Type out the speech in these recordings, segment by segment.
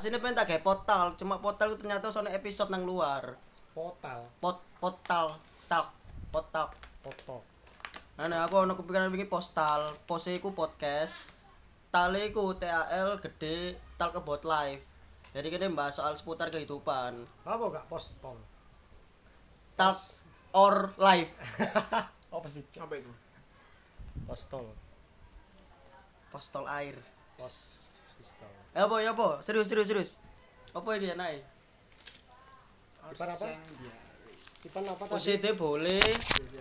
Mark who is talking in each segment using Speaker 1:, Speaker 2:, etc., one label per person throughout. Speaker 1: Sini pengen tak kayak portal, cuma portal itu ternyata soalnya episode nang luar.
Speaker 2: Total.
Speaker 1: Pot portal, tak, potak.
Speaker 2: Foto.
Speaker 1: Nah, nah, aku ono kepikiran bikin postal, pose iku podcast. Tale iku TAL gede, tal about life. Jadi kita bahas soal seputar kehidupan.
Speaker 2: Apa gak postpon?
Speaker 1: Tal or life.
Speaker 2: Apa sih? Cok?
Speaker 3: apa itu
Speaker 2: Postol.
Speaker 1: Postal air.
Speaker 2: Pos. Pistol.
Speaker 1: Eh, apa ya apa? Serius serius serius. Apa ya, ini naik?
Speaker 2: Ipan apa? Ipan apa tadi?
Speaker 1: OCD boleh.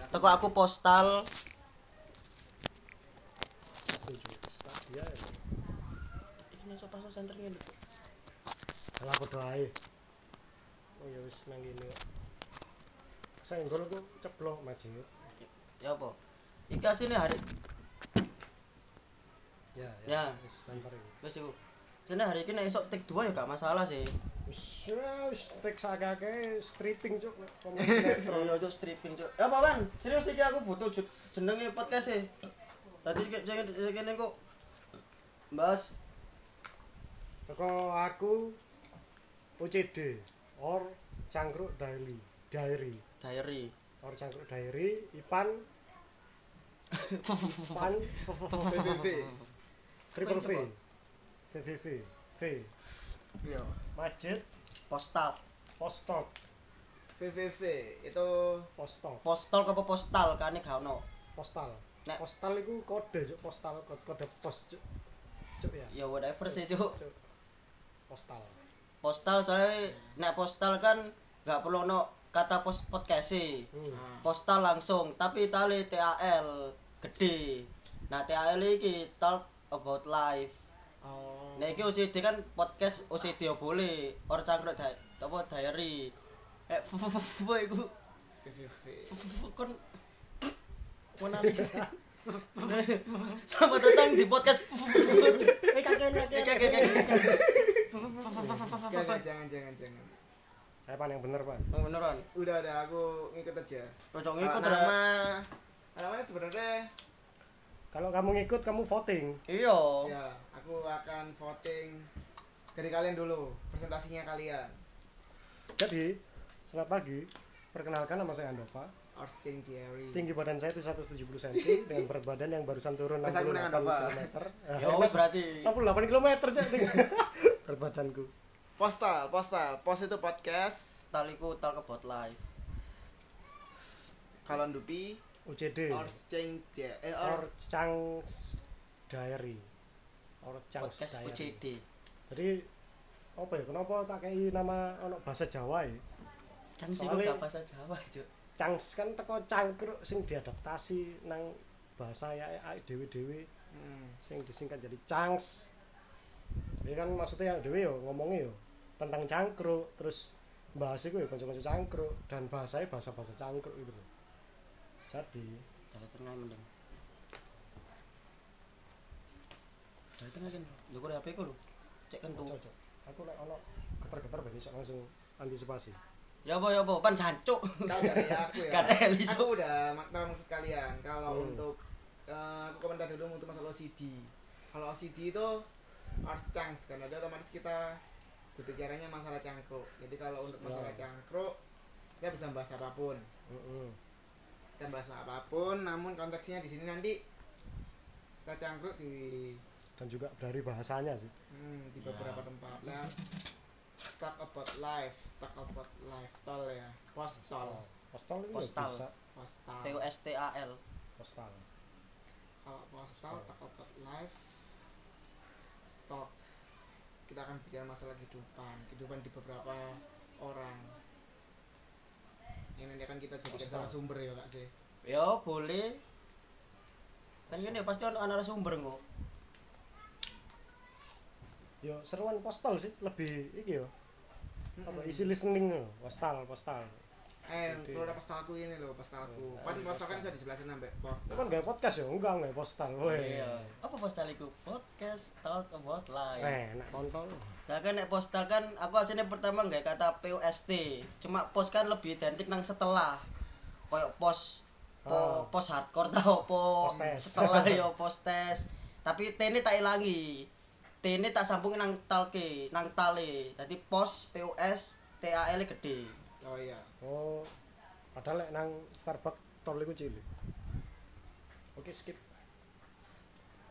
Speaker 1: Teko aku postal.
Speaker 2: Tujuh. Stadia ya.
Speaker 1: Ini sopan center ini.
Speaker 2: Alah aku doai. Oh ya wis nang ngene. Senggol aku ceblok majir.
Speaker 1: Ya apa? Iki asine hari
Speaker 2: Ya,
Speaker 1: Ya.
Speaker 2: Wis sampai.
Speaker 1: wis iku. Sini hari ini nek esok take 2 ya gak masalah sih.
Speaker 2: Wis ya, wis tek sakake streeting cuk komen sinetron.
Speaker 1: Yo yo stripping Oh, cuk. Ya apa Wan? Serius iki aku butuh ju- jenenge podcast e. Tadi kayak jangan kene kok bahas
Speaker 2: Teko aku OCD or cangkruk diary. Diary.
Speaker 1: diary.
Speaker 2: Or cangkruk diary Ipan Pan
Speaker 3: PVV
Speaker 2: Triple V
Speaker 1: Coba.
Speaker 2: VVV V
Speaker 3: iya
Speaker 2: Masjid
Speaker 1: Postal.
Speaker 2: Postok
Speaker 3: PVV itu
Speaker 2: Postok
Speaker 1: Postal apa postal kane gak ono.
Speaker 2: Postal
Speaker 1: Nek-
Speaker 2: Postal itu kode Cuk. Postal kode, kode pos Cuk. Cuk ya
Speaker 1: Ya whatever sih cuk.
Speaker 2: Cuk. Postal
Speaker 1: Postal saya nek postal kan gak perlu ono kata pos podcast sih.
Speaker 2: Hmm.
Speaker 1: postal langsung tapi tali TAL gede nah TAL ini talk about life
Speaker 3: oh
Speaker 1: nah ini OCD kan podcast OCD ya boleh orang cangkrut di apa diary eh fufufu itu
Speaker 3: PVV
Speaker 1: fufufu kan mau nangis selamat datang di podcast fufufu
Speaker 2: Eh kakek
Speaker 1: Eh,
Speaker 2: kakek
Speaker 1: kek, kek, kek, kek.
Speaker 3: jangan jangan jangan jangan
Speaker 2: Eh pan yang bener pan
Speaker 1: Oh, beneran
Speaker 3: udah udah aku ngikut aja
Speaker 1: cocok
Speaker 3: Kalau
Speaker 1: ikut drama
Speaker 3: nama namanya sebenarnya
Speaker 2: Kalau kamu ngikut kamu voting
Speaker 1: iya
Speaker 3: ya aku akan voting dari kalian dulu presentasinya kalian
Speaker 2: Jadi Selamat pagi Perkenalkan nama saya Andova
Speaker 3: Orching Theory
Speaker 2: Tinggi badan saya itu 170 cm Dengan berat badan yang barusan turun
Speaker 3: Masa aku
Speaker 2: 68
Speaker 3: nang Andova?
Speaker 2: km
Speaker 1: ya wis berarti
Speaker 2: 68 km cek berat badanku
Speaker 3: postal postal post itu podcast
Speaker 1: taliku talk about life
Speaker 3: kalon dupi
Speaker 2: OCD
Speaker 3: Orching dia eh
Speaker 2: or
Speaker 3: or
Speaker 2: Chang's diary or Chang's
Speaker 1: podcast
Speaker 2: diary
Speaker 1: OCD
Speaker 2: jadi apa ya kenapa tak kayak nama ono bahasa Jawa ya
Speaker 1: Jam sih
Speaker 2: Soalnya-
Speaker 1: gak bahasa Jawa, Cuk.
Speaker 2: Changs kan teko cangkruk sing diadaptasi nang bahasa ya ae dewe-dewe
Speaker 3: hmm.
Speaker 2: sing disingkat jadi Changs jadi kan maksudnya yang dewe yo ngomongnya yo tentang cangkruk terus bahas itu ya kanca-kanca cangkruk dan bahasanya bahasa-bahasa cangkruk gitu loh. jadi
Speaker 1: Jawa Tengah mending. Jawa Tengah kan. Lho kok HP ku lho. Cek kentu.
Speaker 2: cocok aku lek ono getar-getar ben iso langsung antisipasi
Speaker 1: Ya apa ya apa, pan jancuk.
Speaker 3: Kalau dari aku ya.
Speaker 1: Gak ada yang lucu.
Speaker 3: aku udah mak- tahu maksud kalian. Kalau
Speaker 2: Hmm.
Speaker 3: untuk eh, aku komentar dulu untuk masalah OCD. Kalau OCD itu harus chance karena dia otomatis kita berbicaranya masalah cangkruk. Jadi kalau untuk masalah
Speaker 2: Wow.
Speaker 3: cangkruk kita bisa bahas apapun.
Speaker 2: Heeh.
Speaker 3: Kita bahas apapun, namun konteksnya di sini nanti kita cangkruk di
Speaker 2: dan juga dari bahasanya sih
Speaker 3: hmm, di beberapa tempat lah. Talk about life, talk about life tol ya, postal,
Speaker 2: postal itu
Speaker 1: Postal.
Speaker 2: postal. bisa
Speaker 3: postal.
Speaker 1: P O S T A L.
Speaker 2: postal
Speaker 3: kalau postal tak about live talk kita akan bicara masalah kehidupan kehidupan di beberapa orang yang nanti akan kita jadikan
Speaker 2: Postal.
Speaker 3: salah sumber ya kak sih
Speaker 1: Ya boleh. Kan gini pasti ono narasumber kok.
Speaker 2: yo seruan postal sih lebih iki yo apa isi listening yo postal postal
Speaker 3: eh
Speaker 2: Gitu ya.
Speaker 3: keluar postalku ini loh postalku
Speaker 2: Hmm.
Speaker 3: kan
Speaker 2: Ah,
Speaker 3: postal kan
Speaker 2: postal.
Speaker 3: bisa di sebelah sana mbak
Speaker 2: itu kan gak podcast yo enggak enggak postal weh
Speaker 1: Iya. Apa postal iku? Podcast talk about life.
Speaker 2: eh enak kontol
Speaker 1: Saya kan nek postal kan aku aslinya pertama nggak kata P O S T. Cuma pos kan lebih identik nang setelah. Koyok pos po,
Speaker 2: Ah.
Speaker 1: pos hardcore tau po
Speaker 2: Pos tes.
Speaker 1: setelah yo pos tes. Tapi T ini tak ilangi. T ini tak sambungin nang talke, nang tale. Dadi pos POS TAL gede.
Speaker 3: oh iya
Speaker 2: oh padahal lek nang Starbucks tol iku cilik oke skip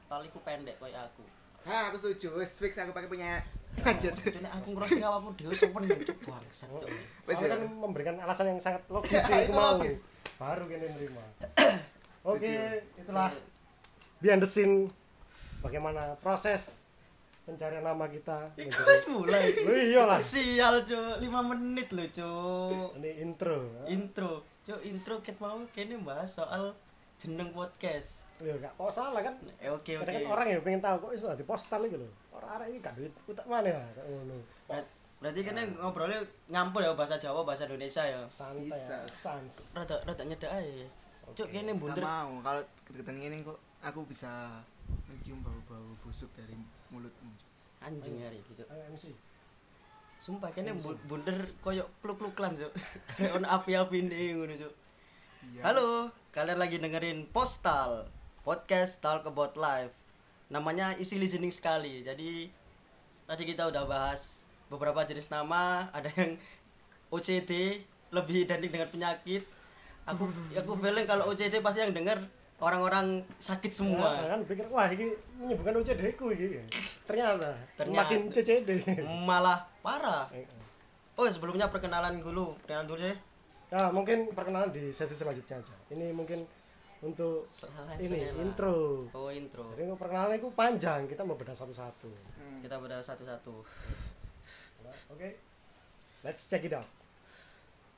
Speaker 1: Taliku pendek koyo aku.
Speaker 3: Hah, aku setuju. Wes fix aku pakai punya. Lanjut.
Speaker 1: Cuma aku ngerasa nggak apa-apa dia sopan dan cuk bangsat cuk.
Speaker 3: Wes,
Speaker 2: Soalnya
Speaker 3: ya.
Speaker 2: kan memberikan alasan yang sangat logis
Speaker 3: Ya,
Speaker 2: sih
Speaker 3: itu
Speaker 2: aku mau.
Speaker 3: logis.
Speaker 2: Baru kene nerima. Oke,
Speaker 3: Setuju.
Speaker 2: itulah behind the scene bagaimana proses pencarian nama kita.
Speaker 1: Iku wis mulai.
Speaker 2: Oh iyalah.
Speaker 1: Sial cuk, 5 menit loh cuk.
Speaker 2: Ini intro.
Speaker 1: Intro. Cuk intro ket mau kene bahas soal jeneng podcast.
Speaker 2: Ya gak kok salah kan.
Speaker 1: Eh, Oke
Speaker 2: Kadang kan
Speaker 1: oke.
Speaker 2: orang ya pengen tahu kok iso di postal iki lho. Orang arek iki gak duit utak mana ya kayak ngono.
Speaker 1: Ber- Berarti kan ngobrolnya nyampur ya bahasa Jawa bahasa Indonesia ya.
Speaker 2: Santai,
Speaker 3: Bisa.
Speaker 2: sans.
Speaker 1: Rada rada nyedak ae. Cuk kene
Speaker 3: Nggak
Speaker 1: bunder.
Speaker 3: mau kalau kegiatan ini kok aku bisa mencium bau-bau busuk dari mulutmu.
Speaker 1: Anjing hari iki cuk.
Speaker 2: Ayo MC.
Speaker 1: Sumpah kene bu- bunder koyo pluk-pluklan cuk. Kayak ono api-api nih ngono cuk.
Speaker 2: Ya.
Speaker 3: Iya.
Speaker 1: Halo, kalian lagi dengerin Postal Podcast Talk About Life. Namanya isi listening sekali. Jadi tadi kita udah bahas beberapa jenis nama, ada yang OCD lebih identik dengan penyakit. Aku aku feeling kalau OCD pasti yang denger orang-orang sakit
Speaker 2: Nah,
Speaker 1: semua.
Speaker 2: kan pikir wah ini menyembuhkan OCD ku iki. Ternyata,
Speaker 1: Ternyata.
Speaker 2: makin CCD.
Speaker 1: Malah parah.
Speaker 2: Eh, eh.
Speaker 1: Oh, sebelumnya perkenalan dulu. Perkenalan dulu deh.
Speaker 2: Ya, mungkin perkenalan di sesi selanjutnya aja. Ini mungkin untuk
Speaker 1: Salah,
Speaker 2: ini
Speaker 1: salah.
Speaker 2: intro.
Speaker 1: Oh, intro.
Speaker 2: Jadi untuk perkenalan itu panjang, kita mau bedah satu-satu.
Speaker 3: Hmm.
Speaker 1: Kita bedah satu-satu.
Speaker 2: Oke. Let's check it out.